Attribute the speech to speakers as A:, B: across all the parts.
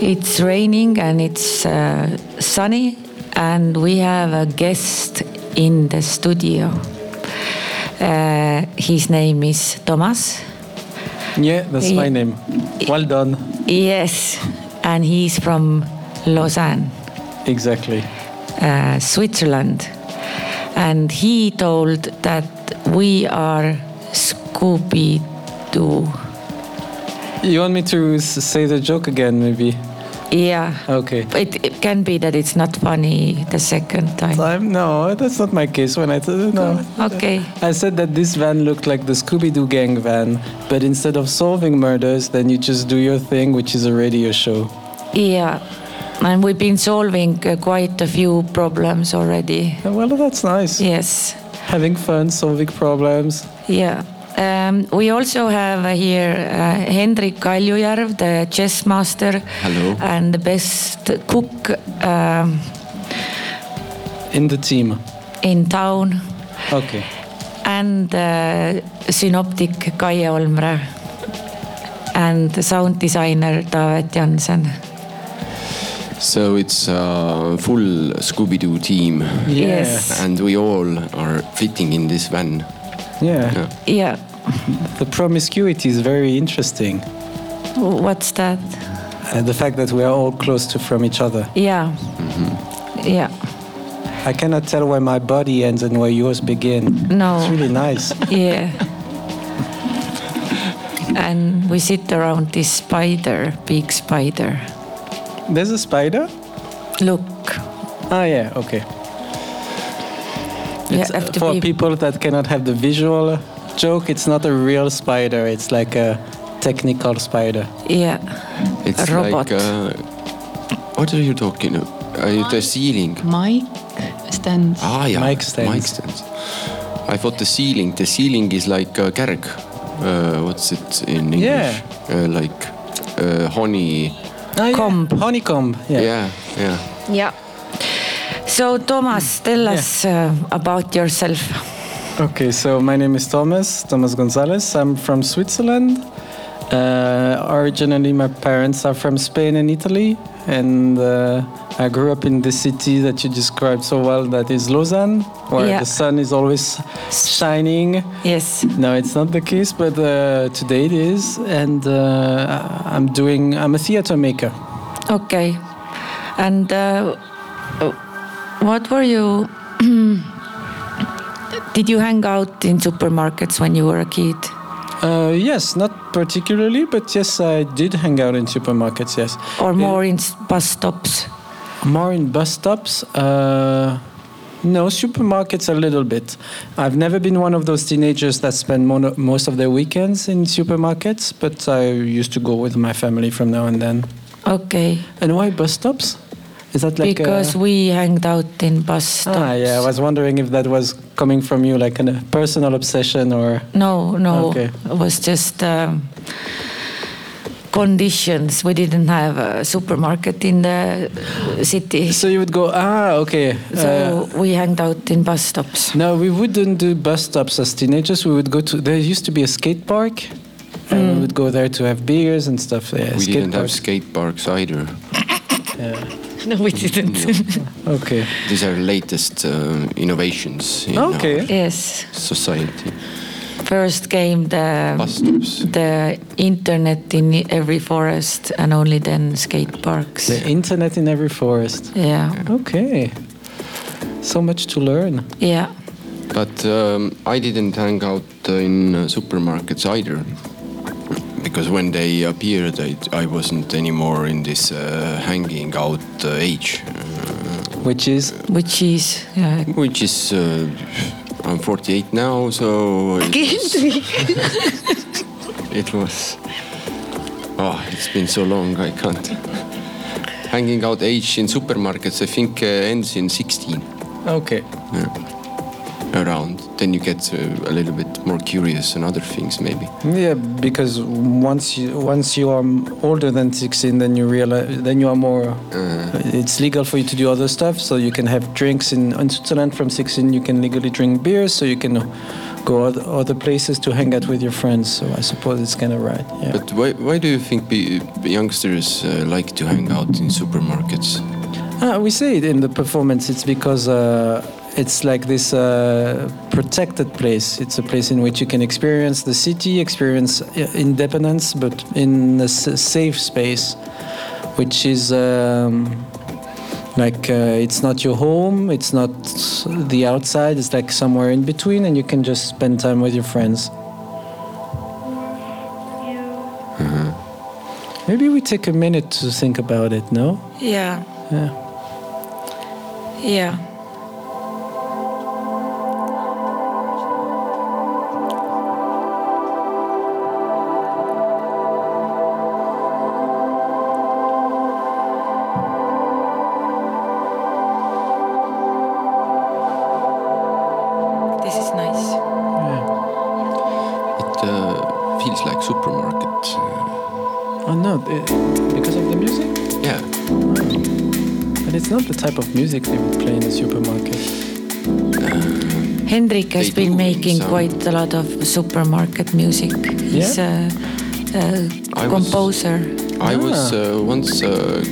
A: It's raining and it's uh, sunny, and we have a guest in the studio. Uh, his name is Thomas.
B: Yeah, that's my name. Well done.
A: Yes, and he's from Lausanne,
B: Exactly.
A: uh, Switzerland. And he told that we are Scooby Doo.
B: You want me to s- say the joke again, maybe?
A: Yeah.
B: Okay.
A: It, it can be that it's not funny the second time.
B: I'm, no, that's not my case. When I said no,
A: Okay.
B: I said that this van looked like the Scooby-Doo gang van, but instead of solving murders, then you just do your thing, which is a radio show.
A: Yeah, and we've been solving uh, quite a few problems already.
B: And Uh, well, that's nice.
A: Yes,
B: Having fun, solving problems.
A: yeah. Um, we also have uh, here uh, Hendrik Kaljujärv, the chess master
C: Hello.
A: and the best cook um,
B: In the team.
A: in town,
B: Okay.
A: and uh, synoptic Kaie Olmre, and the sound designer David Jansen.
C: So it's a full Scooby Doo team.
A: Yes.
C: And we all are fitting in this van.
B: Yeah.
C: Yeah.
A: Yeah,
B: The promiscuity is very interesting.
A: what's that?
B: And the fact that we are all close to from each other.
A: Yeah, yeah.
B: I cannot tell where my body ends and where yours begin.
A: No.
B: It's really nice.
A: Yeah. And we sit around this spider, big spider.
B: There's a spider?
A: Look.
B: Ah, yeah, okay. It's,
A: have
B: uh,
A: to
B: for
A: be-
B: people that cannot have the visual joke, it's not a real spider, it's like a technical spider.
A: Yeah.
C: It's
A: A robot.
C: like. Uh, what are you talking about? Uh, the ceiling.
D: Mike stands.
C: Ah, yeah.
B: Mic stands.
C: Mic stands. I thought the ceiling. The ceiling is like a carrot. Uh, what's it in English?
B: Yeah.
C: Uh, like uh, honey.
B: Ah, yeah,
A: Comb.
B: Honeycomb, yeah.
C: Yeah, yeah.
A: Yeah. So, Thomas, tell
B: Yeah.
A: us uh, about yourself.
B: Okay, so my name is Thomas, Thomas Gonzalez. I'm from Switzerland. Uh, originally, my parents are from Spain and Italy, and uh, I grew up in the city that you described so well, that is Lausanne, where
A: Yeah.
B: the sun is always shining.
A: Yes.
B: No, it's not the case, but uh, today it is, and uh, I'm doing. I'm a theater maker.
A: Okay. And uh, uh, what were you. Did you hang out in supermarkets when you were a kid?
B: Uh, yes, not particularly, but yes, I did hang out in supermarkets. Yes,
A: Or more in s- bus stops?
B: More in bus stops? Uh, no, supermarkets a little bit. I've never been one of those teenagers that spend mono- most of their weekends in supermarkets, but I used to go with my family from now and then.
A: Okay.
B: And why bus stops? Is that like
A: because
B: a...
A: we hanged out in bus stops.
B: Ah, yeah, I was wondering if that was coming from you, like an- a personal obsession or...
A: No, no.
B: Okay.
A: It was just um, conditions. We didn't have a supermarket in the city. So,
B: So you would go, ah, okay. uh,
A: we hanged out in bus stops.
B: No, we wouldn't do bus stops as teenagers. We would go to. There used to be a skate park, and we would go there to have beers and stuff. Yeah,
C: we
B: skate
C: didn't
B: park.
C: have skate parks either.
A: No, we didn't.
B: Okay.
C: These are latest uh, innovations in
B: Okay.
C: our
A: yes.
C: society.
A: First came the,
C: Bus stops.
A: the internet in every forest and only then skate parks.
B: The internet in every forest.
A: Yeah.
B: Okay. So much to learn.
A: Yeah.
C: But um, I didn't hang out uh, in uh, supermarkets either. Because when they appeared, I, I wasn't anymore in this uh, hanging out uh, age, uh,
B: Which is
A: Which is. Yeah.
C: which is uh, I'm 48 now, so it was, it was. Oh, it's been so long, I can't. Hanging out age in supermarkets, I think, uh, ends in 16.
B: okay.
C: Yeah. around. Then you get uh, a little bit more curious on other things, maybe.
B: Yeah, because once you once you are older than 16, then you realize then you are more. It's legal for you to do other stuff, so you can have drinks in, in Switzerland from 16. You can legally drink beers, so you can go oth- other places to hang out with your friends. So I suppose it's kind of right. Yeah.
C: But why, why do you think pe- youngsters uh, like to hang out in supermarkets?
B: Ah, we say it in the performance. It's because uh, it's like this uh, protected place. It's a place in which you can experience the city, experience i- independence, but in a s- safe space, which is um, like uh, it's not your home, it's not the outside. It's like somewhere in between, and you can just spend time with your friends. Maybe we take a minute to think about it. No.
E: Yeah.
B: Yeah.
E: Yeah. This is nice.
C: It uh, feels like supermarket. Uh,
B: Oh no, it- because of the music?
C: yeah,
B: But it's not the type of music they would play in a supermarket.
A: Hendrik has
C: They
A: been
C: do
A: making
C: some-
A: quite a lot of supermarket music. He's a,
C: I
A: a
C: was-
A: composer.
C: I
B: Ah.
C: was uh, once uh,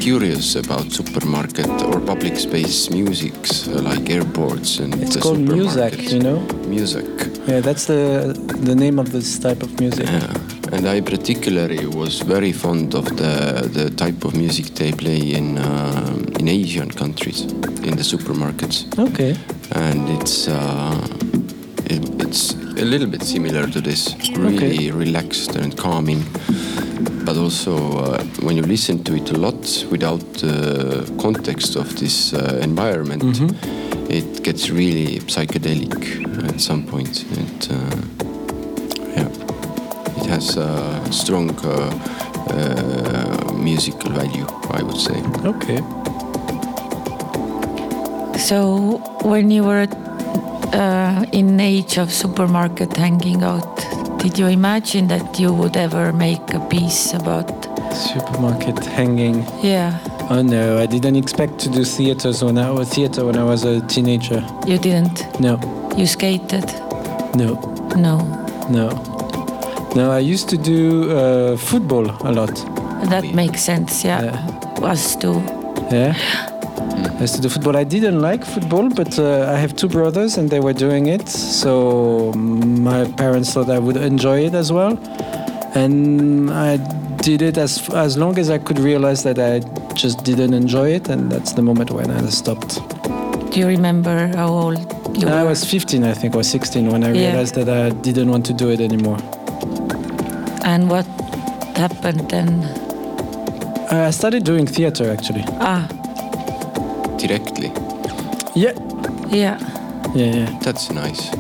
C: curious about supermarket or public space musics uh, like airports and
B: It's
C: the
B: called music,
C: supermarkets.
B: you know?
C: Music.
B: Yeah, that's the the name of this type of music.
C: Yeah, and I particularly was very fond of the the type of music they play in um in Asian countries in the supermarkets,
B: Okay.
C: and it's uh, it, it's a little bit similar to this, really relaxed and calming, but also uh, when you listen to it a lot without the context of this uh, environment. It gets really psychedelic at some point. It, uh, yeah. It has a strong uh, uh, musical value, I would say.
B: Okay.
A: So when you were uh, in age of supermarket hanging out, did you imagine that you would ever make a piece about?
B: Supermarket hanging.
A: Yeah,
B: Oh no, I didn't expect to do theaters when I was theater when I was a teenager.
A: you didn't.
B: No,
A: You skated.
B: no,
A: No,
B: no. No, I used to do uh, football a lot.
A: that makes sense. Yeah, us too.
B: Yeah. As to the football, I didn't like football, but uh, I have two brothers and they were doing it. So my parents thought I would enjoy it as well. And I did it as, as long as I could realize that I just didn't enjoy it. And that's the moment when I stopped.
A: Do you remember how old you
B: I
A: were?
B: was 15, I think, or 16 when I
A: Yeah.
B: realized that I didn't want to do it anymore.
A: And what happened then?
B: Uh, I started doing theater actually.
A: Ah,
C: Directly.
B: Yeah.
A: yeah.
B: Yeah, yeah.
C: That's nice.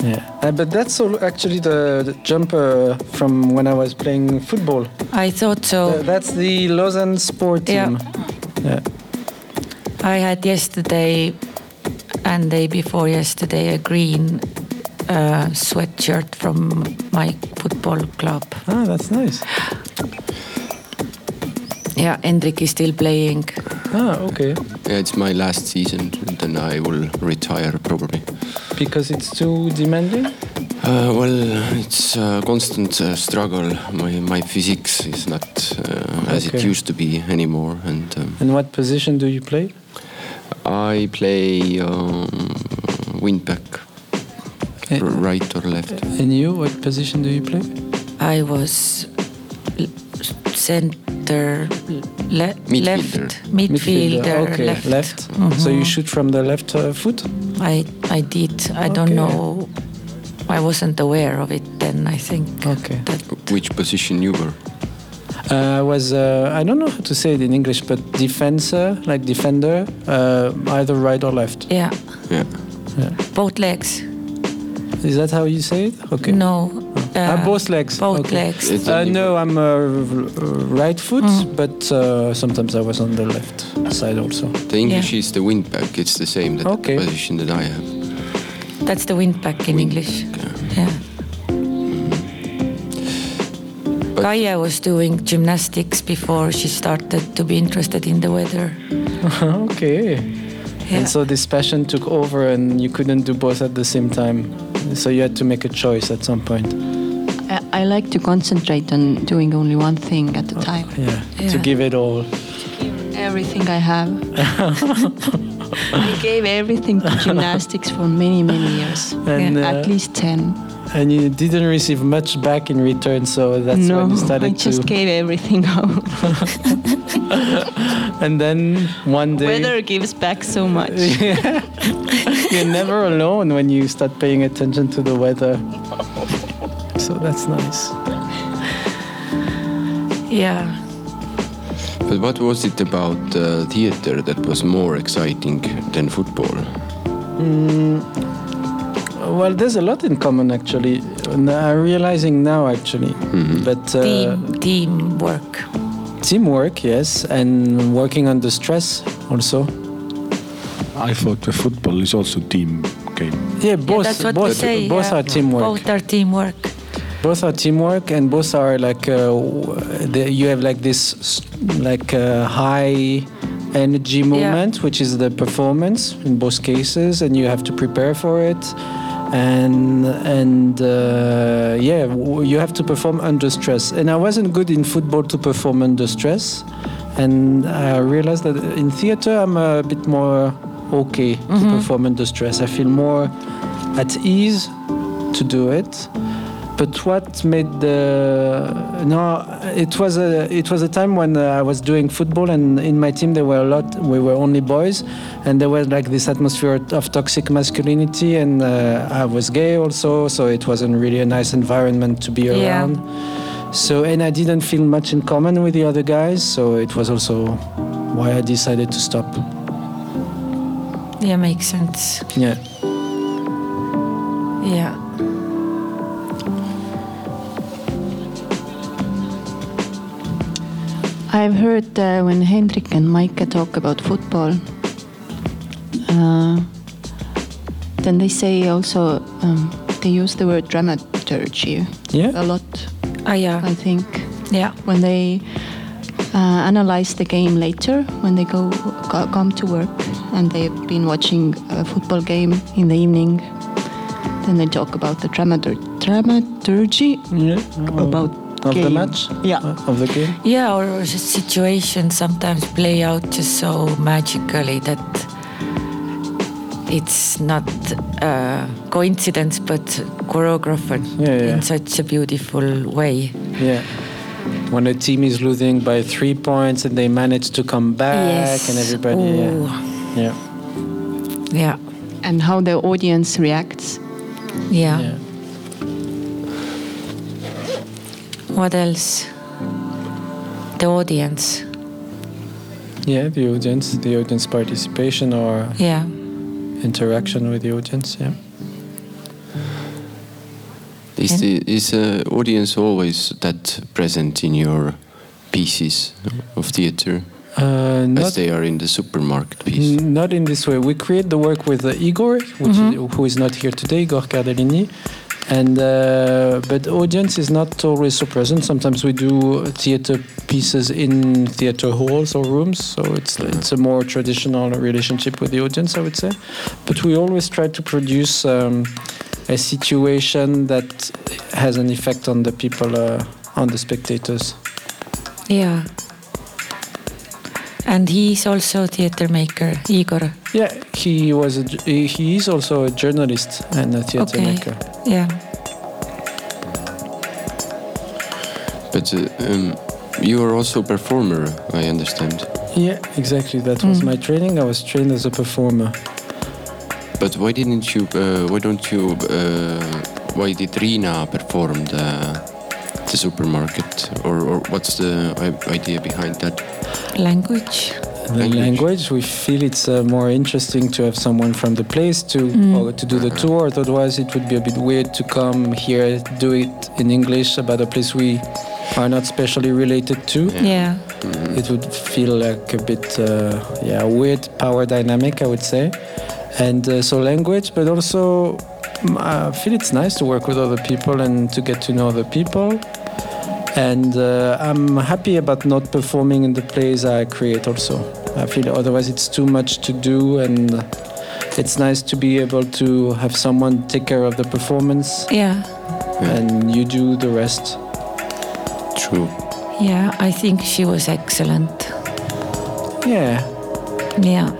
B: Yeah, uh, but that's all actually the, the jumper from when I was playing football.
A: I thought so.
B: Uh, that's the Lausanne sport
A: Oh. Yeah.
B: team. Yeah.
A: I had yesterday and day before yesterday a green uh, sweatshirt from my football club.
B: Ah, that's nice.
A: Yeah, Hendrik is still playing.
B: Ah, okay.
C: Yeah, it's my last season, and then I will retire probably.
B: Because it's too demanding.
C: Uh, well, it's a constant uh, struggle. My, my physics is not uh, as it
B: Okay.
C: used to be anymore, and um,
B: And what position do you play?
C: I play um, wingback,
B: Eh.
C: r- right or left.
B: And you, what position do you play?
A: I was l- center le-
C: Midfielder.
A: left midfielder,
B: Okay,
A: left. Mm-hmm.
B: So you shoot from the left uh, foot.
A: I I did. I
B: Okay.
A: don't know. I wasn't aware of it then. I think.
B: Okay.
A: That
C: Which position you were?
B: Uh, I was uh, I don't know how to say it in English, but defender, like defender, uh, either right or left.
A: yeah,
C: Yeah.
A: both legs.
B: Is that how you say it? Okay.
A: No.
B: ah,
A: uh,
B: both legs.
A: Both
B: okay.
A: legs.
C: It's
B: Uh,
C: only-
B: no, I'm uh, right foot,
D: Mm.
B: but uh, sometimes I was on the left side also.
C: The English is the wingback. It's the same that
B: Okay.
C: the position that I have.
A: That's the windpack in English. Yeah.
B: Mm-hmm.
C: But-
A: Kaia was doing gymnastics before she started to be interested in the weather.
B: okay.
A: Yeah.
B: And so this passion took over, and you couldn't do both at the same time. So you had to make a choice at some point.
D: I, I like to concentrate on doing only one thing at a time.
B: Oh, Yeah. To
A: Yeah.
B: give it all.
D: Everything I have. I gave everything to gymnastics for many, many years.
B: And, uh,
D: at least 10.
B: And you didn't receive much back in return, so that's
D: no,
B: when you started
D: I just
B: to.
D: gave everything out.
B: And then one day.
D: Weather gives back so much.
B: You're never alone when you start paying attention to the weather. So that's nice.
A: Yeah.
C: But what was it about uh, theater that was more exciting than football?
B: Well, there's a lot in common actually. And I'm realizing now actually. But uh,
A: Team teamwork.
B: teamwork, yes, and working under stress also.
F: I thought the football is also team game.
B: Yeah,
A: Yeah,
B: both
A: that's what we
B: both,
A: say.
B: both
A: yeah.
B: are teamwork.
A: Both are teamwork.
B: both are teamwork and both are like uh, w- the, you have like this s- like uh, high energy moment which is the performance in both cases and you have to prepare for it and and uh, yeah w- you have to perform under stress and i wasn't good in football to perform under stress and i realized that in theater i'm a bit more okay to perform under stress i feel more at ease to do it but what made the no? It was a it was a time when uh, I was doing football, and in my team there were a lot. We were only boys, and there was like this atmosphere of toxic masculinity, and uh, I was gay also, so it wasn't really a nice environment to be
A: Yeah.
B: around. So and I didn't feel much in common with the other guys, so it was also why I decided to stop.
A: Yeah, makes sense.
B: Yeah.
A: Yeah.
D: I've heard uh, when Hendrik and Maika talk about football, uh, then they say also um, they use the word dramaturgy
B: Yeah.
D: a lot,
A: Ah, yeah.
D: I think,
A: Yeah.
D: when they uh, analyze the game later, when they go co- come to work and they've been watching a football game in the evening. Then they talk about the dramatur- dramaturgy
B: Yeah.
D: about
B: of the
D: game.
B: match.
D: Yeah.
B: Of the game.
A: Yeah, or s- situations sometimes play out just so magically that it's not a coincidence, but choreographed
B: Yeah, yeah.
A: in such a beautiful way.
B: Yeah. When a team is losing by three points and they manage to come back
A: yes.
B: and everybody.
A: Ooh.
B: Yeah.
A: Yeah.
D: and how the audience reacts.
A: yeah.
B: Yeah. yeah.
A: What else? The audience.
B: Yeah, the audience, the audience participation or
A: Yeah.
B: interaction with the audience. Yeah.
C: Is the is uh, audience always that present in your pieces of theater
B: Uh,
C: as
B: not, Mm.
C: they are in the supermarket piece?
B: n- not in this way. We create the work with uh, Igor, which i- who is not here today, Igor Cardellini. And uh, but audience is not always so present. Sometimes we do theater pieces in theater halls or rooms, so it's it's a more traditional relationship with the audience, I would say. But we always try to produce um, a situation that has an effect on the people, uh, on the spectators.
A: Yeah. And he's also theater maker, Igor.
B: Yeah, he was. A, ju- he he is also a journalist and a theater
A: Okay.
B: maker.
A: Yeah.
C: But uh, um, you are also a performer, I understand.
B: Yeah, exactly. That was my training. I was trained as a performer.
C: But why didn't you? Uh, why don't you? Uh, why did Rina perform the the supermarket? Or, or what's the i- idea behind that?
A: Language.
B: The
C: Language.
B: language, we feel it's uh, more interesting to have someone from the place to or to do the tour. Otherwise, it would be a bit weird to come here do it in English about a place we are not specially related to.
A: Yeah.
B: it would feel like a bit uh, yeah weird power dynamic i would say and uh, so language but also I feel it's nice to work with other people and to get to know other people. And uh, I'm happy about not performing in the plays I create also. I feel otherwise it's too much to do and it's nice to be able to have someone take care of the performance
A: Yeah,
B: and you do the rest.
C: True.
A: yeah, I think she was excellent. Yeah,
B: Yeah. yeah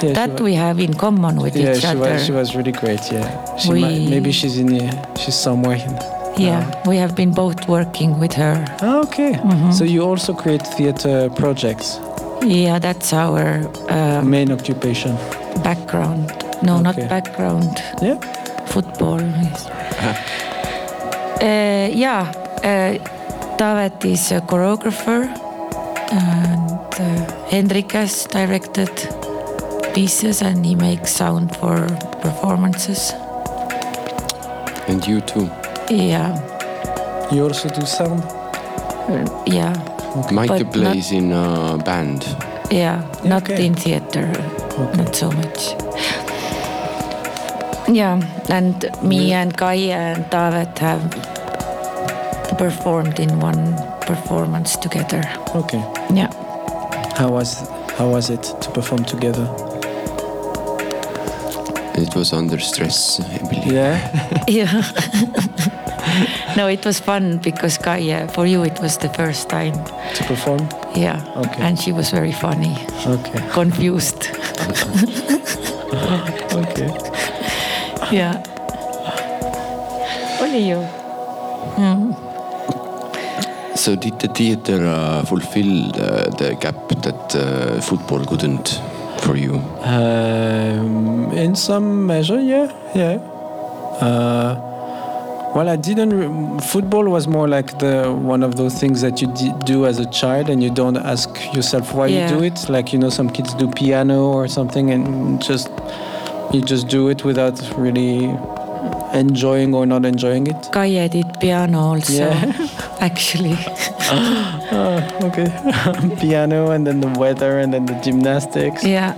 B: she
A: that
B: wa-
A: we have in common with
B: yeah,
A: each
B: she
A: other.
B: was, she was really great. Yeah, she
A: We-
B: might, maybe she's in here. She's somewhere. In,
A: yeah, we have been both working with her.
B: Ah, okay.
A: Mm-hmm.
B: So you also create theater projects.
A: Yeah, that's our um,
B: Main occupation.
A: background. No, not
B: Okay.
A: background.
B: Yeah.
A: Football. yes.
B: Uh-huh.
A: Uh, yeah, uh, Tavet is a choreographer, and uh, Hendrik has directed pieces, and he makes sound for performances.
C: And you too.
A: Yeah,
B: You also do sound.
A: yeah,
C: Maite
A: But
C: plays in a band.
A: yeah. Not
B: Okay.
A: in theater, not so much. Yeah, and me and Kai and Tavet have performed in one performance together.
B: Okay.
A: Yeah.
B: How was how was it to perform together?
C: It was under stress, I believe.
B: Yeah.
A: Yeah. no, it was fun because Kaya, for you, it was the first time.
B: to perform.
A: Yeah.
B: Okay.
A: And she was very funny,
B: Okay.
A: confused.
B: Okay.
A: yeah. Only you.
C: So did the theater uh, fulfill uh, the gap that uh, football couldn't for you?
B: Um, in some measure, yeah, yeah. Uh, well, I didn't. Re- football was more like the one of those things that you d- do as a child, and you don't ask yourself why
A: Yeah.
B: you do it. Like you know, some kids do piano or something, and just you just do it without really enjoying or not enjoying it.
A: Kaya did piano also,
B: Yeah.
A: actually.
B: okay. piano, and then the weather, and then the gymnastics.
A: Yeah.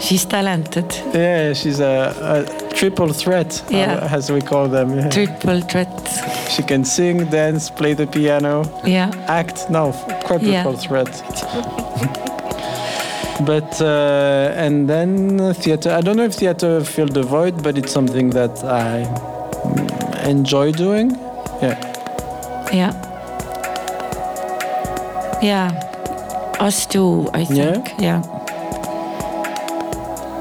A: She's talented.
B: Yeah, she's a, a triple threat,
A: Yeah.
B: uh, as we call them. yeah.
A: Triple threat.
B: She can sing, dance, play the piano,
A: Yeah.
B: act. No, quadruple
A: Yeah.
B: threat. but uh, and then theater. I don't know if theater filled the void, but it's something that I mm, enjoy doing. Yeah.
A: Yeah. Yeah. Us too, I
B: Yeah?
A: think. Yeah.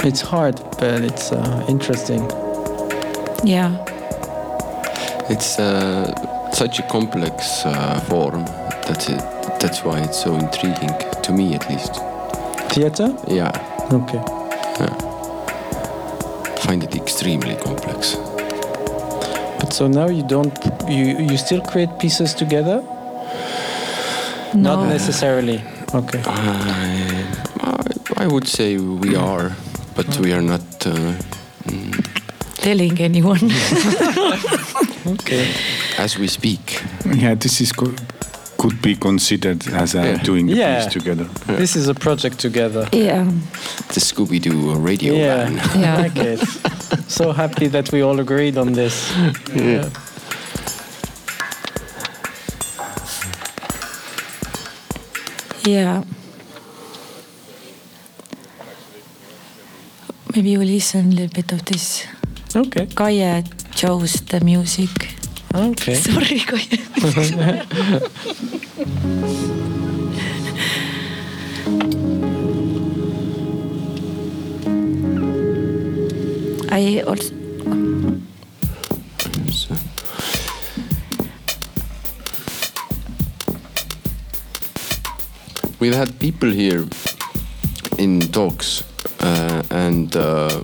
B: It's hard, but it's uh, interesting.
A: Yeah.
C: It's uh, such a complex uh, form. That's it. That's why it's so intriguing to me, at least.
B: Theater?
C: Yeah,
B: Okay.
C: find it extremely complex.
B: But so now you don't you you still create pieces together?
A: No.
B: Not necessarily. Okay.
C: I, I, I would say we are, but we are not. Uh, mm,
A: telling anyone.
B: Okay.
C: as we speak,
F: Yeah, this is co- could be considered as uh,
C: Yeah.
F: doing a
B: Yeah.
F: piece together.
B: This is a project together.
A: yeah.
C: the Scooby-Doo uh, radio
B: Yeah.
C: man.
B: I
A: Yeah.
B: like it. so happy that we all agreed on this. Yeah.
A: Yeah. Maybe you listen a little bit of this.
B: Okay.
A: Kaia chose the music.
B: Okay.
A: Sorry, Kaia. I also
C: So, We've had people here in talks, uh, and uh,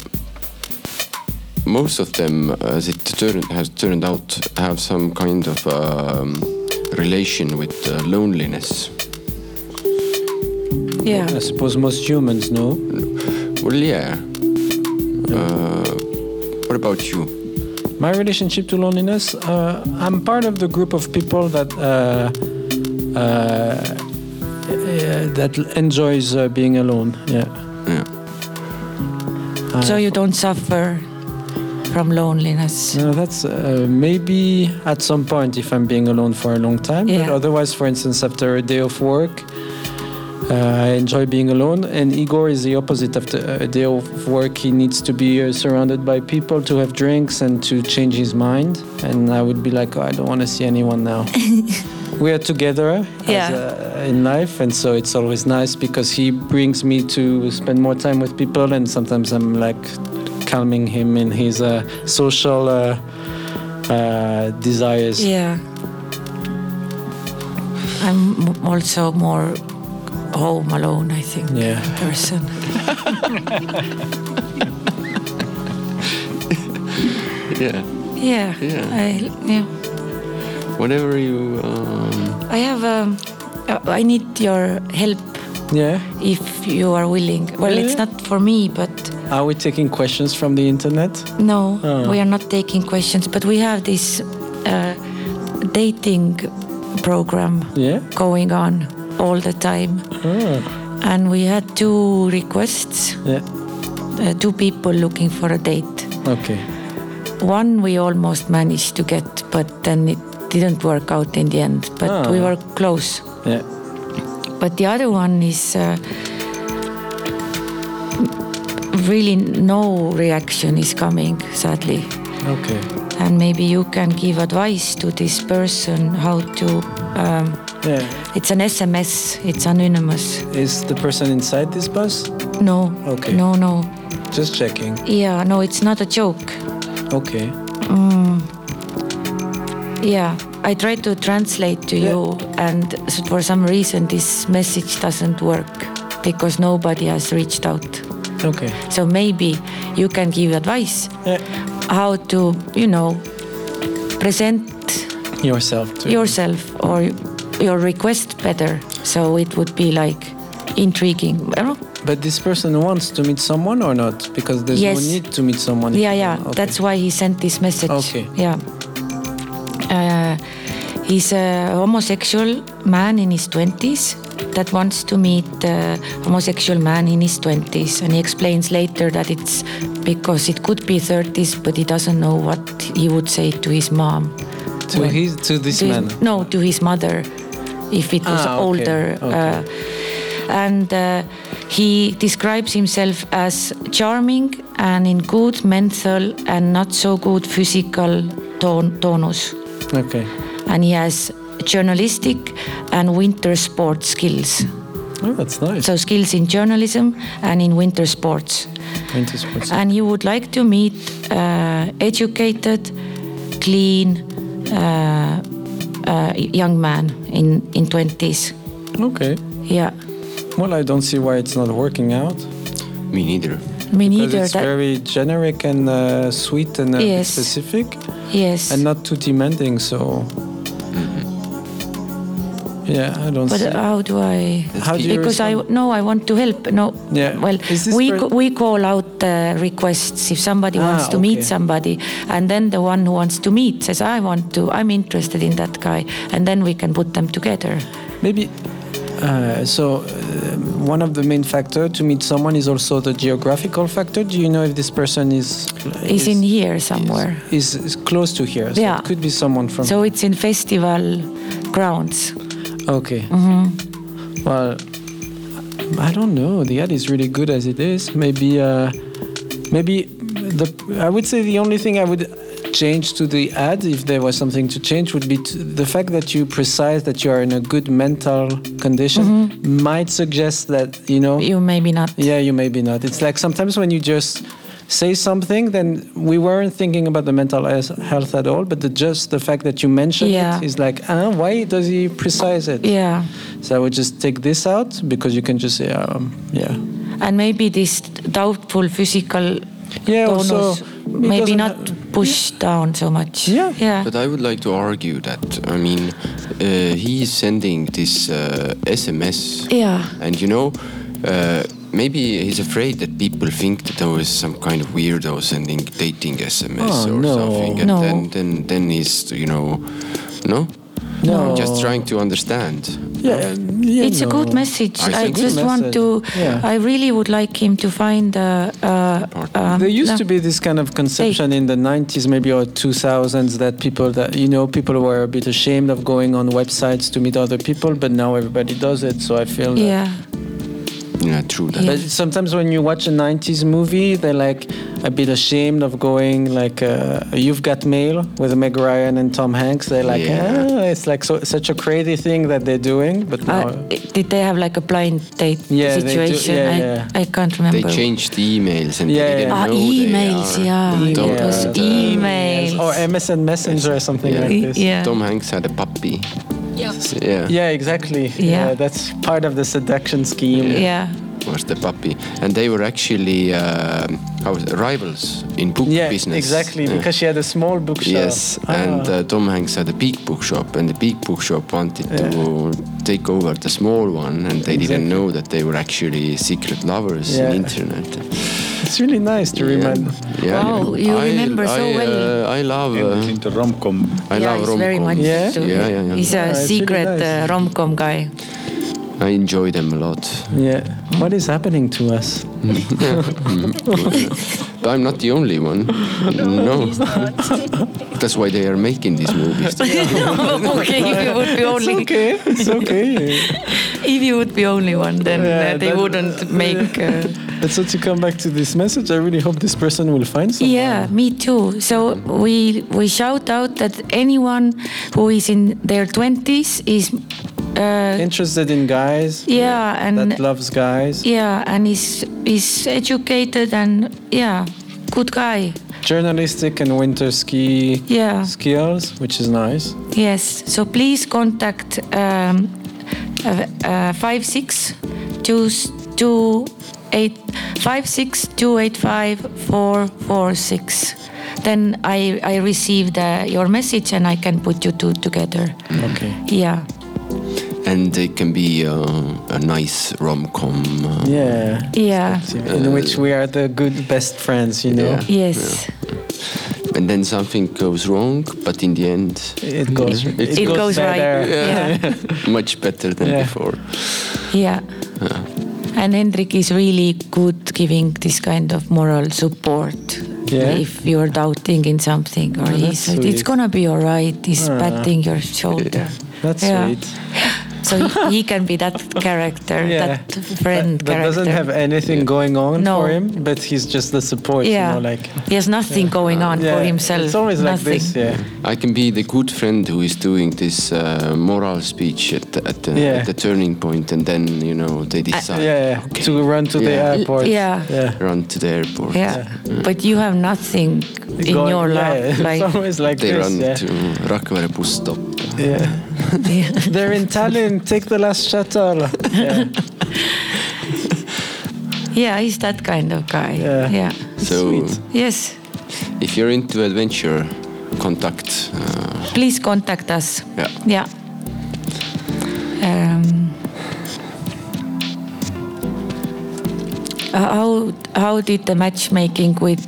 C: most of them, as it turn, has turned out, have some kind of um, relation with uh, loneliness.
A: yeah.
B: I suppose most humans know.
C: Well, yeah. Uh, what about you?
B: My relationship to loneliness, uh, I'm part of the group of people that uh, uh, uh, that enjoys uh, being alone. Yeah.
C: Yeah.
A: So you don't suffer from loneliness?
B: No, that's uh, maybe at some point if I'm being alone for a long time. But
A: Yeah.
B: otherwise, for instance, after a day of work, uh, I enjoy being alone. And Igor is the opposite. After a day of work, he needs to be uh, surrounded by people to have drinks and to change his mind. And I would be like, oh, I don't want to see anyone now. we are together
E: Yeah.
B: as, uh, in life, and so it's always nice because he brings me to spend more time with people, and sometimes I'm like calming him in his uh, social uh, uh, desires.
A: Yeah. I'm m- also more home alone, I think,
B: Yeah.
A: person.
C: Yeah.
A: Yeah.
C: Yeah.
A: I, yeah.
C: Whatever you. Um,
A: I have. Um, uh, I need your help
B: Yeah.
A: if you are willing. Well, it's
B: Yeah.
A: not for me, but
B: Are we taking questions from the internet?
A: No,
B: Oh.
A: we are not taking questions, but we have this uh, dating program
B: Yeah.
A: going on all the time. And we had two requests,
B: Yeah.
A: uh, two people looking for a date.
B: Okay.
A: One we almost managed to get, but then it didn't work out in the end, but we
B: Ah.
A: were close.
B: Yeah.
A: But the other one is uh, really no reaction is coming, sadly.
B: Okay.
A: and maybe you can give advice to this person how to um,
B: Yeah.
A: it's an sms it's anonymous
B: Is the person inside this bus?
A: no
B: Okay.
A: no no
B: Just checking.
A: yeah no it's not a joke
B: Okay.
A: yeah i tried to translate to
B: Yeah.
A: you and s- for some reason this message doesn't work because nobody has reached out
B: Okay.
A: so maybe you can give advice
B: Yeah.
A: how to you know present
B: Yourself too.
A: yourself or your request better so it would be like intriguing I don't know.
B: But this person wants to meet someone or not? Because there's
A: Yes.
B: no need to meet someone. if
A: yeah
B: you
A: yeah
B: don't- okay.
A: that's why he sent this message
B: Okay.
A: yeah uh, he's a homosexual man in his 20s that wants to meet a homosexual man in his 20s and he explains later that it's because it could be 30s but he doesn't know what he would say to his mom
B: to
A: when-
B: his to this
A: to
B: man.
A: his- no, to his mother, if it was
B: Ah, okay,
A: older.
B: okay.
A: Uh, and uh, he describes himself as charming and in good mental and not so good physical ton- tonus.
B: Okay.
A: And he has journalistic and winter sport skills.
B: Oh, that's nice.
A: So, skills in journalism and in winter sports
B: Winter sports.
A: and he would like to meet uh, educated, clean uh, uh, young man in in twenties.
B: Okay.
A: Yeah,
B: Well, I don't see why it's not working out.
C: me neither.
A: me
B: Because
A: neither.
B: it's
A: That,
B: very generic and uh, sweet and uh, bit
A: Yes.
B: specific,
A: yes,
B: and not too demanding. So. Yeah, I don't
A: Mm-hmm. but uh,
B: see.
A: how do I?
B: How do you
A: because I no, I want to help. No,
B: Yeah.
A: well,
B: Is this
A: we
B: per-
A: co- we call out the requests if somebody wants
B: Ah,
A: to
B: okay.
A: meet somebody, and then the one who wants to meet says, "I want to. I'm interested in that guy," and then we can put them together.
B: Maybe. Uh, so, uh, one of the main factor to meet someone is also the geographical factor. Do you know if this person is
A: Is in here somewhere.
B: is, is close to here? So
A: Yeah.
B: it could be someone from.
A: So it's in festival grounds.
B: Okay.
A: Mm-hmm.
B: Well, I don't know. The ad is really good as it is. Maybe, uh, maybe the. I would say the only thing I would change to the ad, if there was something to change, would be t the fact that you precise that you are in a good mental condition
A: Mm-hmm.
B: might suggest that you know.
A: You maybe not.
B: yeah, you maybe not. It's like sometimes when you just say something, then we weren't thinking about the mental health health at all, but the, just the fact that you mentioned
A: Yeah.
B: it is like, ah, why does he precise it?
A: Yeah.
B: So I would just take this out because you can just say, um, yeah.
A: And maybe this doubtful physical
B: Yeah,
A: tonus
B: also, it
A: maybe
B: doesn't
A: not push down so much.
B: Yeah.
A: Yeah.
C: But I would like to argue that, I mean, uh, he's sending this uh, SMS.
A: Yeah.
C: And you know, uh, maybe he's afraid that people think that there was some kind of weirdo sending dating SMS
B: Oh,
C: or
B: no.
C: something. And
A: No.
C: then, then, then he's, you know, no?
B: No.
C: Just trying to understand.
B: Yeah, yeah,
A: it's a
B: no.
A: good message.
C: I
A: I,
C: think-
A: just
B: Good
A: want to.
B: message. Yeah.
A: I really would like him to find. Uh, uh,
C: Partner.
A: um,
B: there used
A: no.
B: to be this kind of conception in the 90s maybe or 2000s that people that you know people were a bit ashamed of going on websites to meet other people but now everybody does it so i feel that-
A: Yeah,
C: Yeah, true. That.
B: But sometimes when you watch a 90s movie, they're like a bit ashamed of going like uh, You've Got Mail with Meg Ryan and Tom Hanks. They're like,
C: Yeah.
B: "Ah," it's like so, such a crazy thing that they're doing. But now,
A: uh, did they have like a blind date
B: Yeah, they do-
A: situation?
B: yeah, yeah.
A: I, I can't
C: They
A: remember.
C: changed the emails and
B: Yeah,
C: they didn't
A: Ah,
C: know
A: emails,
C: they are.
A: yeah.
C: And
A: It was
C: and,
A: emails.
B: uh, or MSN Messenger or something
C: Yeah.
B: like this.
A: Yeah.
C: Tom Hanks had a puppy. S- Yeah.
B: Yeah, exactly.
A: Yeah.
B: that's part of the seduction scheme.
A: yeah.
C: Was the puppy, and they were actually uh, how is it, rivals in book
B: Yeah,
C: business.
B: exactly.
C: Yeah.
B: Because she had a small bookshop.
C: Yes, and
B: Ah.
C: uh, Tom Hanks had a big bookshop, and the big bookshop wanted to take over the small one, and they didn't know that they were actually secret lovers
B: Yeah.
C: in internet.
B: it's really nice to remind.
C: uh, Yeah.
A: Wow, you
C: I-
A: remember so
C: I,
A: well.
C: Uh, I love. Uh,
F: in the rom com.
C: I
A: yeah,
C: love
A: it's very
C: rom-coms.
A: much.
B: Yeah?
A: so-
C: Yeah, yeah, yeah.
A: He's a
B: Yeah, it's really
A: secret
B: nice.
A: uh, rom-com guy.
C: I enjoy them a lot.
B: Yeah. What is happening to us?
C: But I'm not the only one. No. That's why they are making these movies.
A: okay, if you would be only,
B: Okay, it's okay.
A: if you would be only one, then
B: Yeah,
A: uh, they
B: that-
A: wouldn't make. Uh,
B: But so to come back to this message, I really hope this person will find someone.
A: Yeah, me too. So we we shout out that anyone who is in their twenties is, uh,
B: Interested in guys.
A: yeah,
B: That
A: and
B: loves guys.
A: yeah, and is is educated and yeah, good guy.
B: Journalistic and winter ski
A: Yeah.
B: skills, which is nice.
A: Yes. So please contact um, uh, uh, five six two s- two eight five six two eight five four four six. Then I I received uh, your message and I can put you two together.
B: Okay.
A: Yeah.
C: and they can be uh, a nice rom com. Uh,
B: Yeah.
A: Yeah.
B: In which we are the good best friends, you know.
C: Yeah.
A: Yes.
C: And then something goes wrong, but in the end,
B: It goes. It,
A: It goes right.
B: better.
A: Yeah.
C: much better than
B: Yeah.
C: before.
A: yeah. And Hendrik is really good giving this kind of moral support.
B: Yeah. Oh,
A: If you're doubting in something, or he
B: that's
A: said, it's
B: sweet.
A: gonna be all right, he's
B: Ah.
A: patting your shoulder.
B: That's
A: Yeah.
B: sweet.
A: So he he can be that character,
B: Yeah.
A: that friend
B: That
A: character.
B: doesn't have anything going on
A: No.
B: for him, but he's just the support,
A: yeah,
B: you know, like.
A: he has nothing going on
B: Yeah,
A: for himself.
B: It's always
A: nothing.
B: like this, yeah.
C: I can be the good friend who is doing this uh, moral speech at the, at, the,
B: Yeah.
C: at the turning point, and then you know they decide.
B: Yeah,
C: okay,
B: to run to the
C: Yeah.
B: airport.
A: Yeah.
B: Yeah.
C: run to the airport.
A: Yeah. but you have nothing in
B: Going-
A: your
B: yeah,
A: life.
B: it's
A: Like,
B: always like
C: They
B: this.
C: run
B: yeah.
C: to Rakvere bus stop.
B: Yeah. They're in Tallinn. Take the last shuttle. Yeah.
A: yeah, he's that kind of guy.
B: Yeah.
A: yeah.
C: So
B: Sweet.
A: Yes.
C: if you're into adventure, contact. Uh,
A: please contact us.
C: Yeah.
A: Yeah. Um, how how did the matchmaking with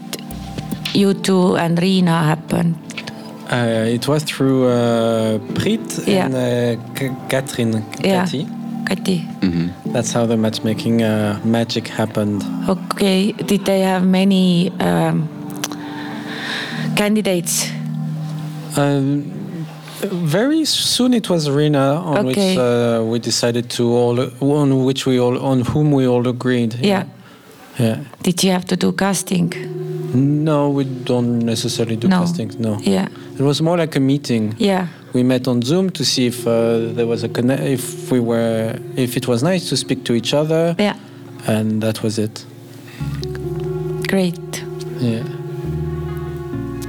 A: you two and Rina happen?
B: Uh, it was through uh, Prit
A: Yeah.
B: and uh, K- Katrin.
A: Yeah.
B: Kati.
A: Kati.
B: That's how the matchmaking uh, magic happened.
A: Okay. Did they have many um, candidates?
B: Um, very soon it was Rina on
A: Okay.
B: which uh, we decided to all on which we all on whom we all agreed.
A: Yeah.
B: Yeah.
A: Did you have to do casting?
B: No, we don't necessarily do
A: No.
B: castings. No.
A: Yeah.
B: It was more like a meeting.
A: Yeah.
B: We met on Zoom to see if uh, there was a conne- if we were if it was nice to speak to each other.
A: Yeah.
B: And that was it.
A: Great.
B: Yeah.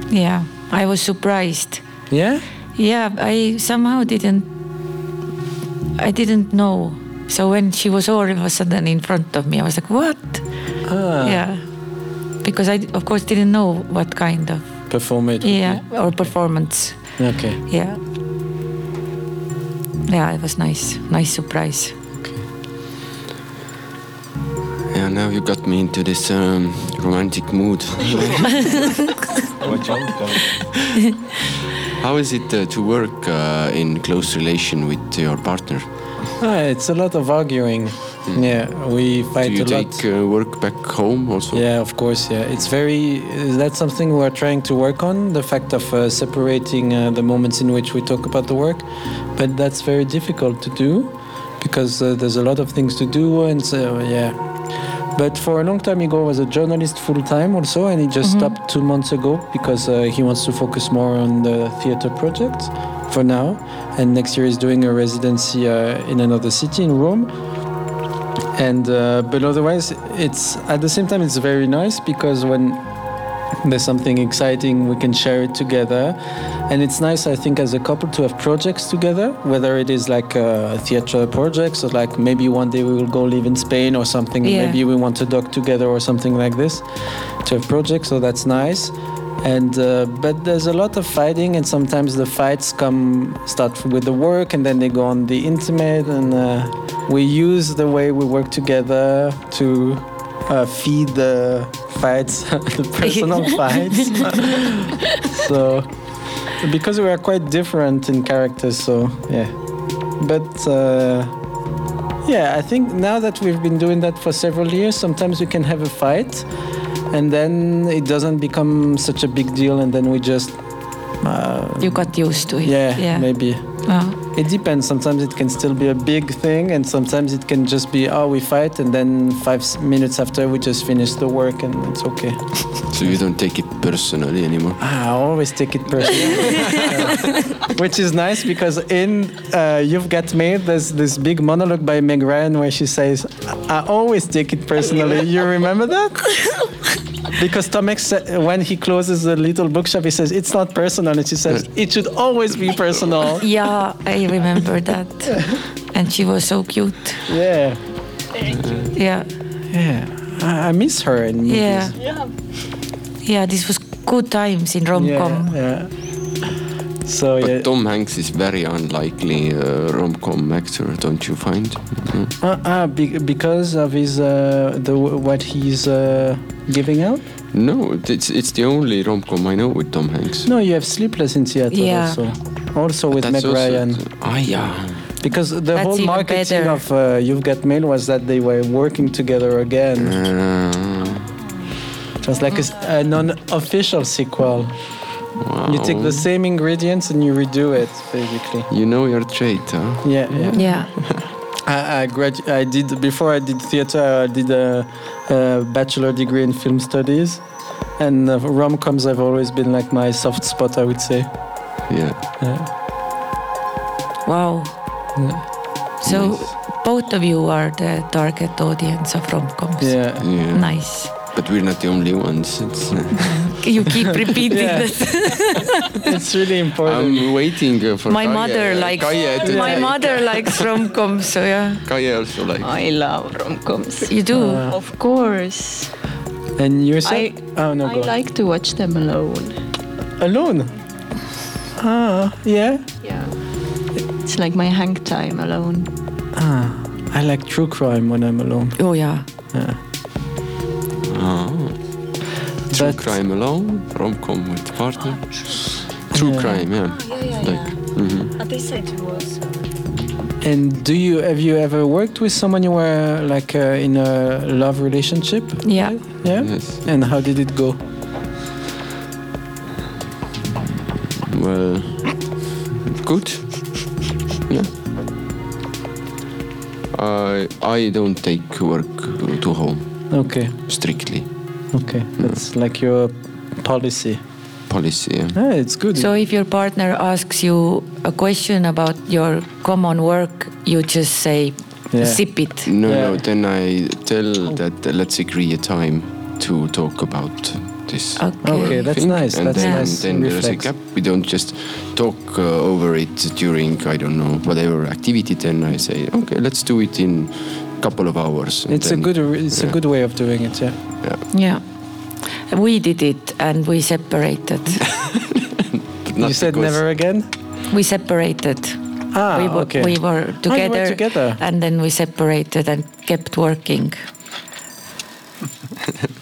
A: Yeah. I was surprised.
B: Yeah.
A: Yeah, I somehow didn't. I didn't know. So when she was all of a sudden in front of me, I was like, "What?"
B: Ah.
A: Yeah, because I, of course, didn't know what kind of
B: Perform it. would
A: yeah or performance.
B: be- Okay.
A: Yeah. Yeah, it was nice, nice surprise.
C: yeah, now you got me into this um, romantic mood.
F: Watch out.
C: How is it uh, to work uh, in close relation with your partner?
B: Ah, it's a lot of arguing. Yeah, we
C: Hmm. Do
B: fight
C: you
B: a lot.
C: take uh, work back home also?
B: Yeah, of course. Yeah, it's very. That's something we're trying to work on. The fact of uh, separating uh, the moments in which we talk about the work, but that's very difficult to do because uh, there's a lot of things to do, and so yeah. But for a long time, Igor was a journalist full time also, and he just stopped two months ago because uh, he wants to focus more on the theater project for now. And next year, he's doing a residency uh, in another city in Rome and uh, but otherwise it's at the same time it's very nice because when there's something exciting we can share it together and it's nice i think as a couple to have projects together whether it is like uh, theater projects or like maybe one day we will go live in spain or something
A: Yeah.
B: maybe we want to dock together or something like this to have projects so that's nice and uh, but there's a lot of fighting and sometimes the fights come start with the work and then they go on the intimate and uh, we use the way we work together to uh, feed the fights the personal fights so because we are quite different in characters so yeah but uh, yeah i think now that we've been doing that for several years sometimes we can have a fight and then it doesn't become such a big deal and then we just uh,
A: You got used to it.
B: yeah, maybe
A: Ah,
B: it depends sometimes it can still be a big thing and sometimes it can just be oh we fight and then five s- minutes after we just finish the work and it's okay Ah,
C: So you don't take it personally anymore?
B: I always take it personally, which is nice because in uh, You've Got Mail, there's this big monologue by Meg Ryan where she says, "I always take it personally." You remember that? Because Tom Hanks, sa- when he closes the little bookshop, he says, "It's not personal," and she says, "It should always be personal."
A: yeah, I remember that. And she was so cute.
B: Yeah,
A: Yeah,
B: yeah. I I miss her in movies.
A: yeah, yeah. This was good times in rom com.
B: yeah. yeah. So
C: But
B: yeah.
C: Tom Hanks is very unlikely uh, rom-com actor, don't you find? Mm.
B: Uh, uh, be- because of his uh, the what he's uh, giving out.
C: No, it's it's the only rom-com I know with Tom Hanks.
B: No, you have Sleepless in Seattle
A: Yeah.
B: also. Also with Meg
C: That's also-
B: Ryan.
C: Ah, yeah.
B: Because the
A: That's
B: whole
A: even
B: marketing
A: better.
B: of uh, You've Got Mail was that they were working together again.
C: Uh,
B: It was like a s a non-official sequel.
C: wow.
B: You take the
C: Oh.
B: same ingredients and you redo it, basically.
C: You know your trade, huh?
B: Yeah, yeah.
A: Yeah,
B: I, I, gradu- I did before I did theater. I did a, a bachelor degree in film studies, and uh, rom coms have always been like my soft spot. I would say.
C: Yeah.
B: Yeah.
A: wow.
B: Yeah.
A: So both of you are the target audience of rom coms.
B: yeah.
C: Yeah.
A: Nice.
C: But we're not the only ones. It's, uh,
A: You keep repeating
B: Yeah.
A: this.
B: it's really important.
C: I'm waiting uh, for
A: My
C: Kaia-
A: mother likes
C: Kaia to
A: my
C: take-
A: mother likes rom coms. So yeah,
C: Kaia also likes.
D: I love rom-coms.
A: you do.
B: Uh,
D: Of course.
B: and you said,
D: I-
B: oh no,
D: I
B: go on.
D: like to watch them alone.
B: alone. Ah, yeah.
D: Yeah. It's like my hang time alone.
B: Ah, I like true crime when I'm alone.
A: Oh yeah.
B: Yeah.
C: Ah. True
B: But-
C: crime alone, rom-com with partner. True
B: Yeah.
C: crime, yeah. Like, mhm.
E: But they said it was.
B: And do you have you ever worked with someone you were like uh, in a love relationship?
A: Yeah.
B: Yeah.
C: Yes.
B: And how did it go?
C: Well, good. Yeah. I I don't take work to home
B: Okay.
C: strictly.
B: Okay. That's like your policy.
C: Policy. Yeah.
B: Ah, it's good.
A: So if your partner asks you a question about your common work, you just say,
B: Yeah.
A: zip it.
C: No,
B: Yeah.
C: no. Then I tell that uh, let's agree a time to talk about this.
A: Okay.
B: Okay, that's
C: thing,
B: nice.
C: And
B: That's
C: then,
B: nice.
C: then there's a
B: reflex.
C: gap. We don't just talk uh, over it during I don't know whatever activity. Then I say okay, let's do it in couple of hours. and
B: It's a
C: then-
B: good. It's a
C: yeah.
B: good way of doing it. Yeah.
A: Yeah. We did it and we separated.
C: Not
B: you said
C: because-
B: never again.
A: we separated.
B: Ah,
A: we, were,
B: okay.
A: we were
B: Ah, you
A: together,
B: were together.
A: and then we separated and kept working.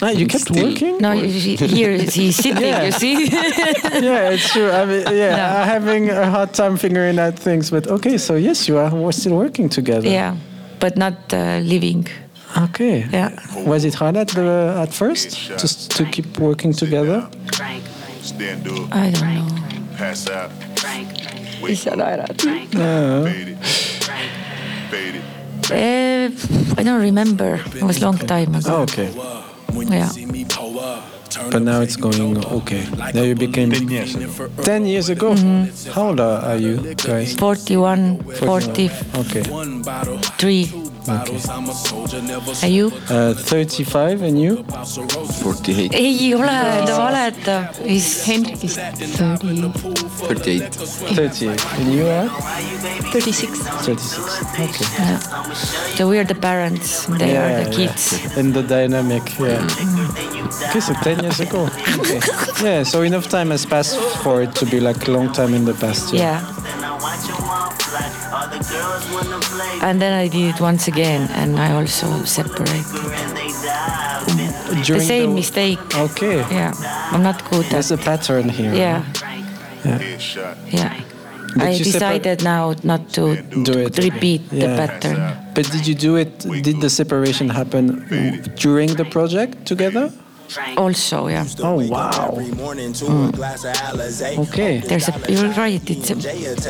B: No, Ah, you kept
C: Still.
B: working.
A: No, you see- here he's sitting, you see?
B: yeah, it's true. I mean, yeah,
A: No.
B: I'm having a hard time figuring out things. But okay, so yes, you are. We're still working together.
A: yeah, but not uh, living.
B: Okay.
A: Yeah.
B: Was it hard at the at first just to keep working together?
G: Frank,
H: Stand up,
A: I don't know.
H: pass out,
G: Frank,
H: wake up,
G: Frank,
H: fade it, fade it.
A: Uh, I don't remember. It was long time ago.
B: Oh, okay. Oh.
A: Yeah.
B: But now it's going okay. Now you became ten years ago.
A: Mm-hmm.
B: How old are are you guys?
A: 41, 43.
B: Okay.
A: Are you?
B: Uh, 35 and you?
C: 48,
A: ei ole , ta valetab .
D: Hendrik is 30,
C: 38.
B: 38. And you are?
D: 36.
B: 36. Okay.
A: So we are the parents, they are the kids .
B: And the dynamic, yeah. Okay, so 10 years ago. Okay. yeah, so enough time has passed for it to be like a long time in the past.
A: Yeah. And then I did it once again, and I also separated.
B: During
A: the same
B: the-
A: mistake.
B: Okay.
A: Yeah, I'm not good at.
B: There's a pattern here.
A: Yeah,
H: Headshot.
A: yeah.
B: But
A: I
B: you separ-
A: decided now not to
B: Do it.
A: repeat the
B: Yeah.
A: pattern.
B: But did you do it? Did the separation happen w- during the project together?
A: Also, yeah.
B: Oh wow! Okay,
A: Hmm. There's a. You're right. It's a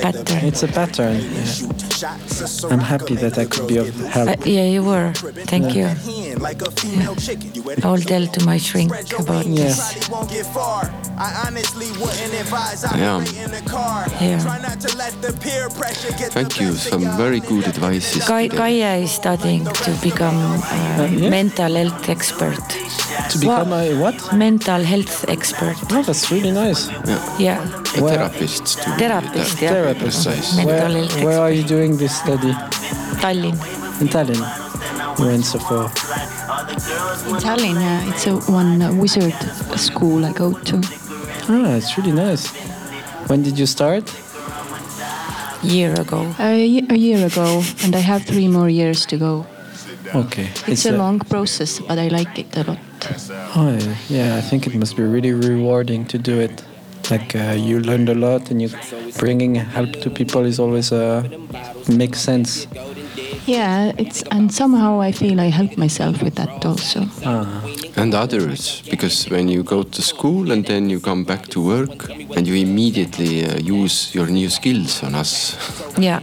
A: pattern.
B: it's a pattern. yeah. I'm happy that I could be of help.
A: Uh, yeah, you were. Thank you. Yeah. I will tell to my shrink about
B: Yeah.
A: this.
C: Yeah.
A: Yeah.
C: Thank you. Some very good advices.
A: Kai-
C: today.
A: Kaia is studying to become a
B: Uh, yeah?
A: mental health expert.
B: to become a what?
A: Mental health expert.
B: Oh, that's really nice.
A: Yeah.
C: A
B: Where-
C: therapist. To be
A: Therapist, yeah.
B: Therapist.
C: Precise.
B: Where,
A: Mental health
B: where are you doing this study?
A: Tallinn.
B: In Tallinn. You're in Sephora.
D: In Tallinn, yeah, it's a one uh, wizard school I go to.
B: Ah, it's really nice. When did you start?
A: Year ago.
D: A, ye- a year ago, and I have three more years to go.
B: Okay.
D: It's, a, long process, but I like it a lot.
B: Oh, yeah. yeah, I think it must be really rewarding to do it. Like uh, you learned a lot, and you bringing help to people is always uh, makes sense.
D: Yeah, it's and somehow I feel I help myself with that also.
B: Ah.
C: And others, because when you go to school and then you come back to work and you immediately uh, use your new skills on us.
A: Yeah.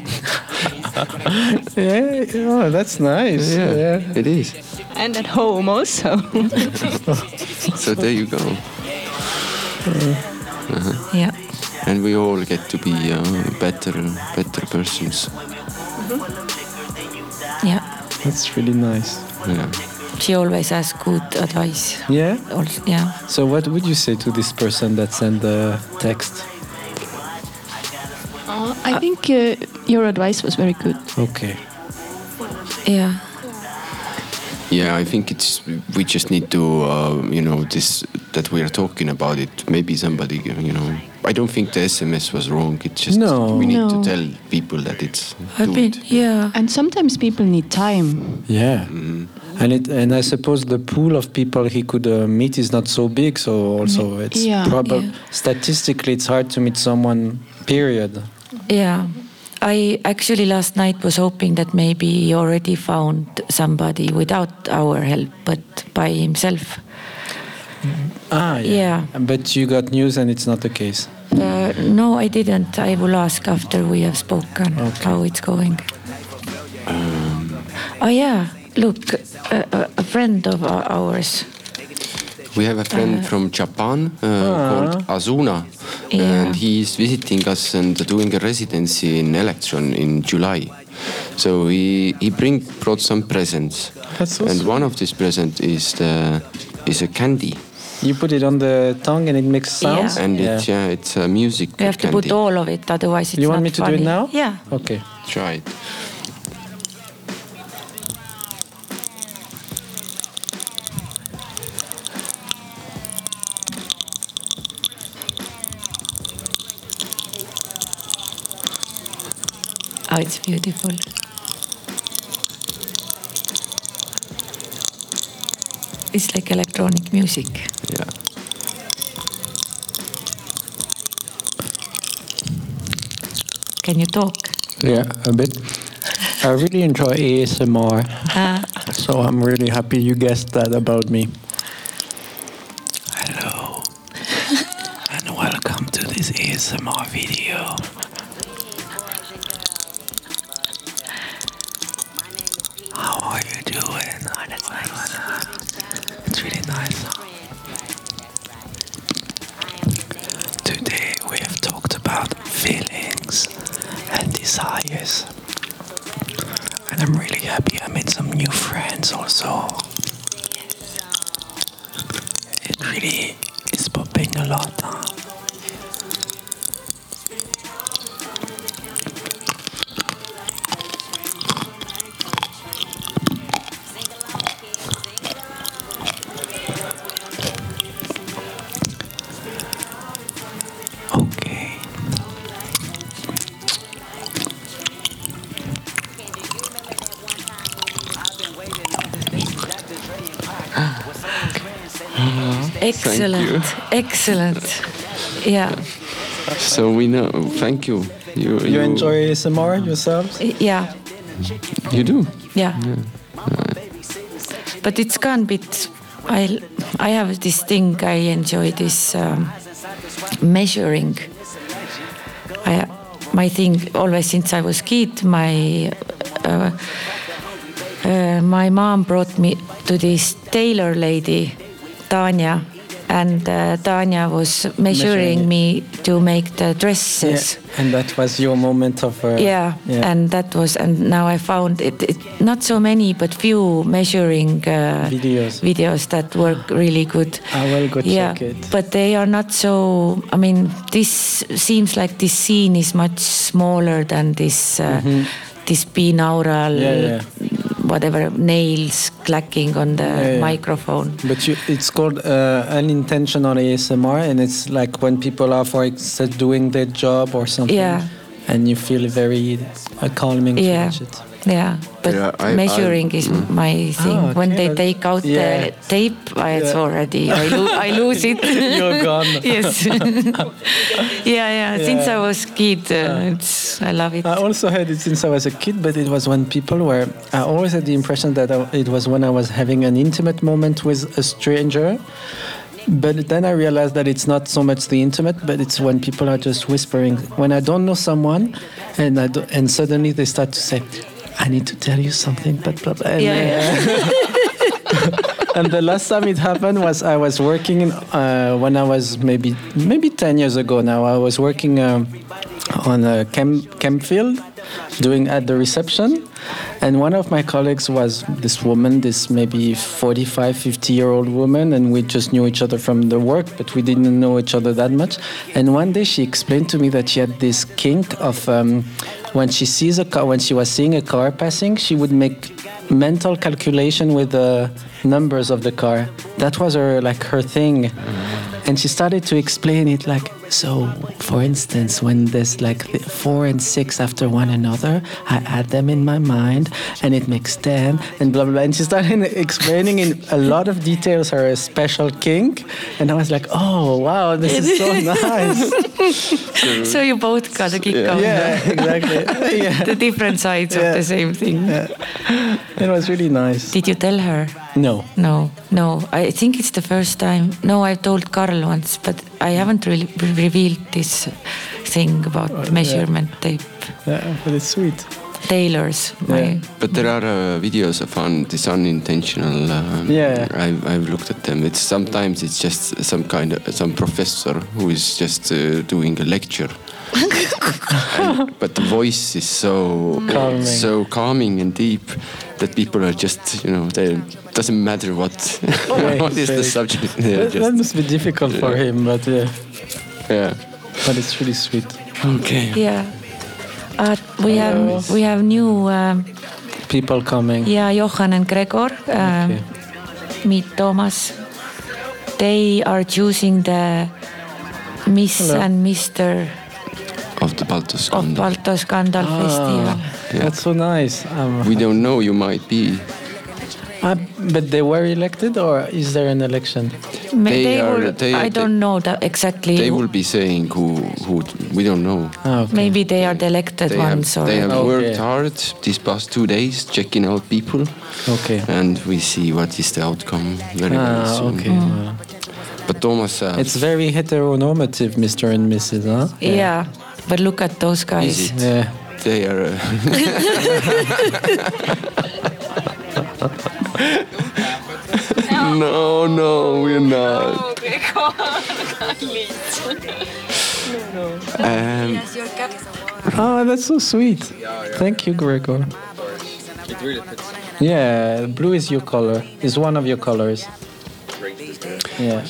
B: Yeah, oh, that's nice.
C: it is.
D: And at home also.
C: So there you go.
A: Yeah.
C: And we all get to be uh, better, better persons.
A: Yeah.
B: that's really nice.
C: Yeah.
A: She always has good advice.
B: Yeah.
A: Also, yeah.
B: So, what would you say to this person that sent the text?
D: I think uh, your advice was very good.
B: Okay.
A: Yeah.
C: Yeah, I think it's we just need to uh, you know this that we are talking about it. Maybe somebody uh, you know. I don't think the SMS was wrong. It's just
B: No.
C: we need
D: No.
C: to tell people that it's.
A: I've
C: do
A: been.
C: it.
A: Yeah.
D: And sometimes people need time.
B: Yeah. And it, and I suppose the pool of people he could uh, meet is not so big. So also it's
D: Yeah.
B: probably
A: Mm. Yeah.
B: statistically it's hard to meet someone. Period.
A: Yeah. I actually last night was hoping that maybe he already found somebody without our help, but by himself.
B: Ah,
A: yeah.
B: But you got news and it's not the case.
A: Uh, no, I didn't. I will ask after we have spoken how it's going.
B: Um,
A: oh, yeah. Look, a, a- a friend of ou- ours.
C: We have a friend
A: Uh-huh.
C: from Japan uh, called
A: Ah.
C: Azuna,
A: Yeah.
C: and he is visiting us and doing a residency in Electron in July. So he he bring brought some presents,
B: That's so
C: and
B: sweet.
C: one of these presents is the is a candy,
B: You put it on the tongue and it makes
A: Yeah.
B: sounds.
C: and it's yeah it's a music.
A: We have to
C: candy.
A: put all of it, otherwise it's
B: You
A: not
B: want me to do
A: funny.
B: it now?
A: Yeah.
B: Okay.
C: Try it.
A: Oh, it's beautiful. It's like electronic music.
C: Yeah.
A: Can you talk?
G: Yeah, a bit. I really enjoy ASMR, Uh.
A: Ah,
G: so I'm really happy you guessed that about me. Hello, and welcome to this ASMR video. How are you doing? Oh, that's nice. It's really nice. Today we have talked about feelings and desires. And I'm really happy I made some new friends also. It really is popping a lot. huh? Okay.
A: excellent, excellent. Yeah,
C: So we know. Thank you. You,
B: You enjoy ASMR yourselves?
A: yeah,
C: You do.
A: yeah. But it's gone bit. I I have this thing. I enjoy this um, measuring. I my thing always since I was kid. My uh, uh, my mom brought me to this tailor lady, Tanya, and uh, Tanya was measuring
B: Measuring.
A: me to make the dresses.
B: And that was your moment of. Uh,
A: yeah, and that was and now i found it, it not so many but few measuring uh,
B: Videos. Ah,
A: videos that work really good
B: I will go
A: yeah
B: check it.
A: but they are not so i mean this seems like this scene is much smaller than this uh, this binaural
B: Mm-hmm. Yeah, yeah.
A: whatever nails clacking on the
B: yeah.
A: microphone
B: But you, it's called uh, unintentional ASMR, and it's like when people are, for example, doing their job or something,
A: Yeah.
B: and you feel very uh, calming
A: Yeah.
B: to watch it.
A: yeah, but
C: Yeah, I- I-
A: measuring is my thing.
B: Ah,
A: When they
B: okay.
A: take out
B: Yeah.
A: the tape, I, it's
B: Yeah.
A: already I, lo- I lose it.
B: You're gone.
A: yes. yeah, yeah, Since I was kid, uh,
B: Ah.
A: it's, I love it.
B: I also had it since I was a kid, but it was when people were. I always had the impression that I, it was when I was having an intimate moment with a stranger. But then I realized that it's not so much the intimate, but it's when people are just whispering. When I don't know someone, and I do, and suddenly they start to say, "I need to tell you something," but blah blah. And,
A: Yeah, yeah.
B: and the last time it happened was I was working in, uh, when I was maybe maybe ten years ago now. I was working um, on a camp camp field, doing at the reception, and one of my colleagues was this woman, this maybe 45, 50 year old woman, and we just knew each other from the work, but we didn't know each other that much. And one day she explained to me that she had this kink of. Um, when she sees a car, when she was seeing a car passing, she would make mental calculation with the numbers of the car. That was her like her thing. And she started to explain it like so for instance when there's like the 4 and 6 after one another I add them in my mind and it makes 10 and blah blah, blah. and she started explaining in a lot of details her special kink and I was like oh wow this is so nice
A: so you both got a kick out
B: yeah exactly yeah
A: the different sides of
B: Yeah.
A: the same thing.
B: it was really nice
A: Did you tell her?
B: no
A: No, no. I think it's the first time. No, I told Carl once, but I haven't really re- revealed this thing about
B: Oh,
A: measurement tape.
B: yeah, but it's sweet
A: Tailors. My,
C: But there are uh, videos of un- this unintentional. Um,
B: Yeah.
C: I've, I've looked at them. It's sometimes it's just some kind of some professor who is just uh, doing a lecture. And- but the voice is so uh,
B: Calming.
C: so calming and deep that people are just you know they doesn't matter what
B: yeah,
C: what is the
B: very-
C: subject. They're
B: that, that
C: just,
B: must be difficult for
C: Yeah.
B: him but yeah
C: yeah.
B: but it's really sweet
C: Okay.
A: yeah. Uh, we have we have new um,
B: people coming
A: yeah Johan and Gregor. Um,
B: Okay.
A: meet Thomas. They are choosing the Miss
B: Hello.
A: and Mister
C: Of the Baltus
A: of
C: Gondor.
A: Balto
C: Ah.
A: Scandal Festival.
B: That's so nice. Um,
C: we don't know. You might be.
B: Ah, but they were elected, or is there an election?
A: Ma-
C: They
A: they
C: are-
A: will-
C: they-
A: I
C: they-
A: don't know that exactly.
C: They will be saying who, who we don't know.
B: Ah, okay.
A: Maybe they are the elected
C: They have,
A: ones. or
C: they have
B: Okay.
C: worked hard these past two days checking out people,
B: Okay.
C: and we see what is the outcome very very
B: Ah,
C: soon.
B: okay.
D: Mm.
B: well.
C: But Thomas, uh,
B: It's very heteronormative, Mr. and Mrs., huh?
A: yeah. but look at those guys.
C: Is it?
B: Yeah.
C: they are. Uh, no, no, we're not. Um,
B: Oh, that's so sweet. Thank you, Gregor. Yeah, blue is your color. Is one of your colors. Yeah.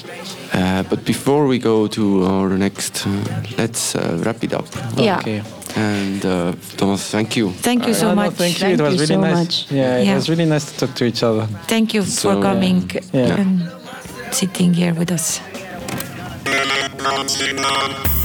C: uh, but before we go to our next, uh, let's uh, wrap it up.
D: Yeah.
B: Okay.
C: And uh, Thomas, thank you.
A: Thank you so
B: Oh, no,
A: much.
B: thank you.
D: Thank
B: it was
D: you
B: really
D: so
B: nice.
D: much.
B: Yeah, it
A: Yeah.
B: was really nice to talk to each other.
A: Thank you
C: So,
A: for coming
B: yeah.
A: and sitting here with us.
H: Feeling on, feeling on.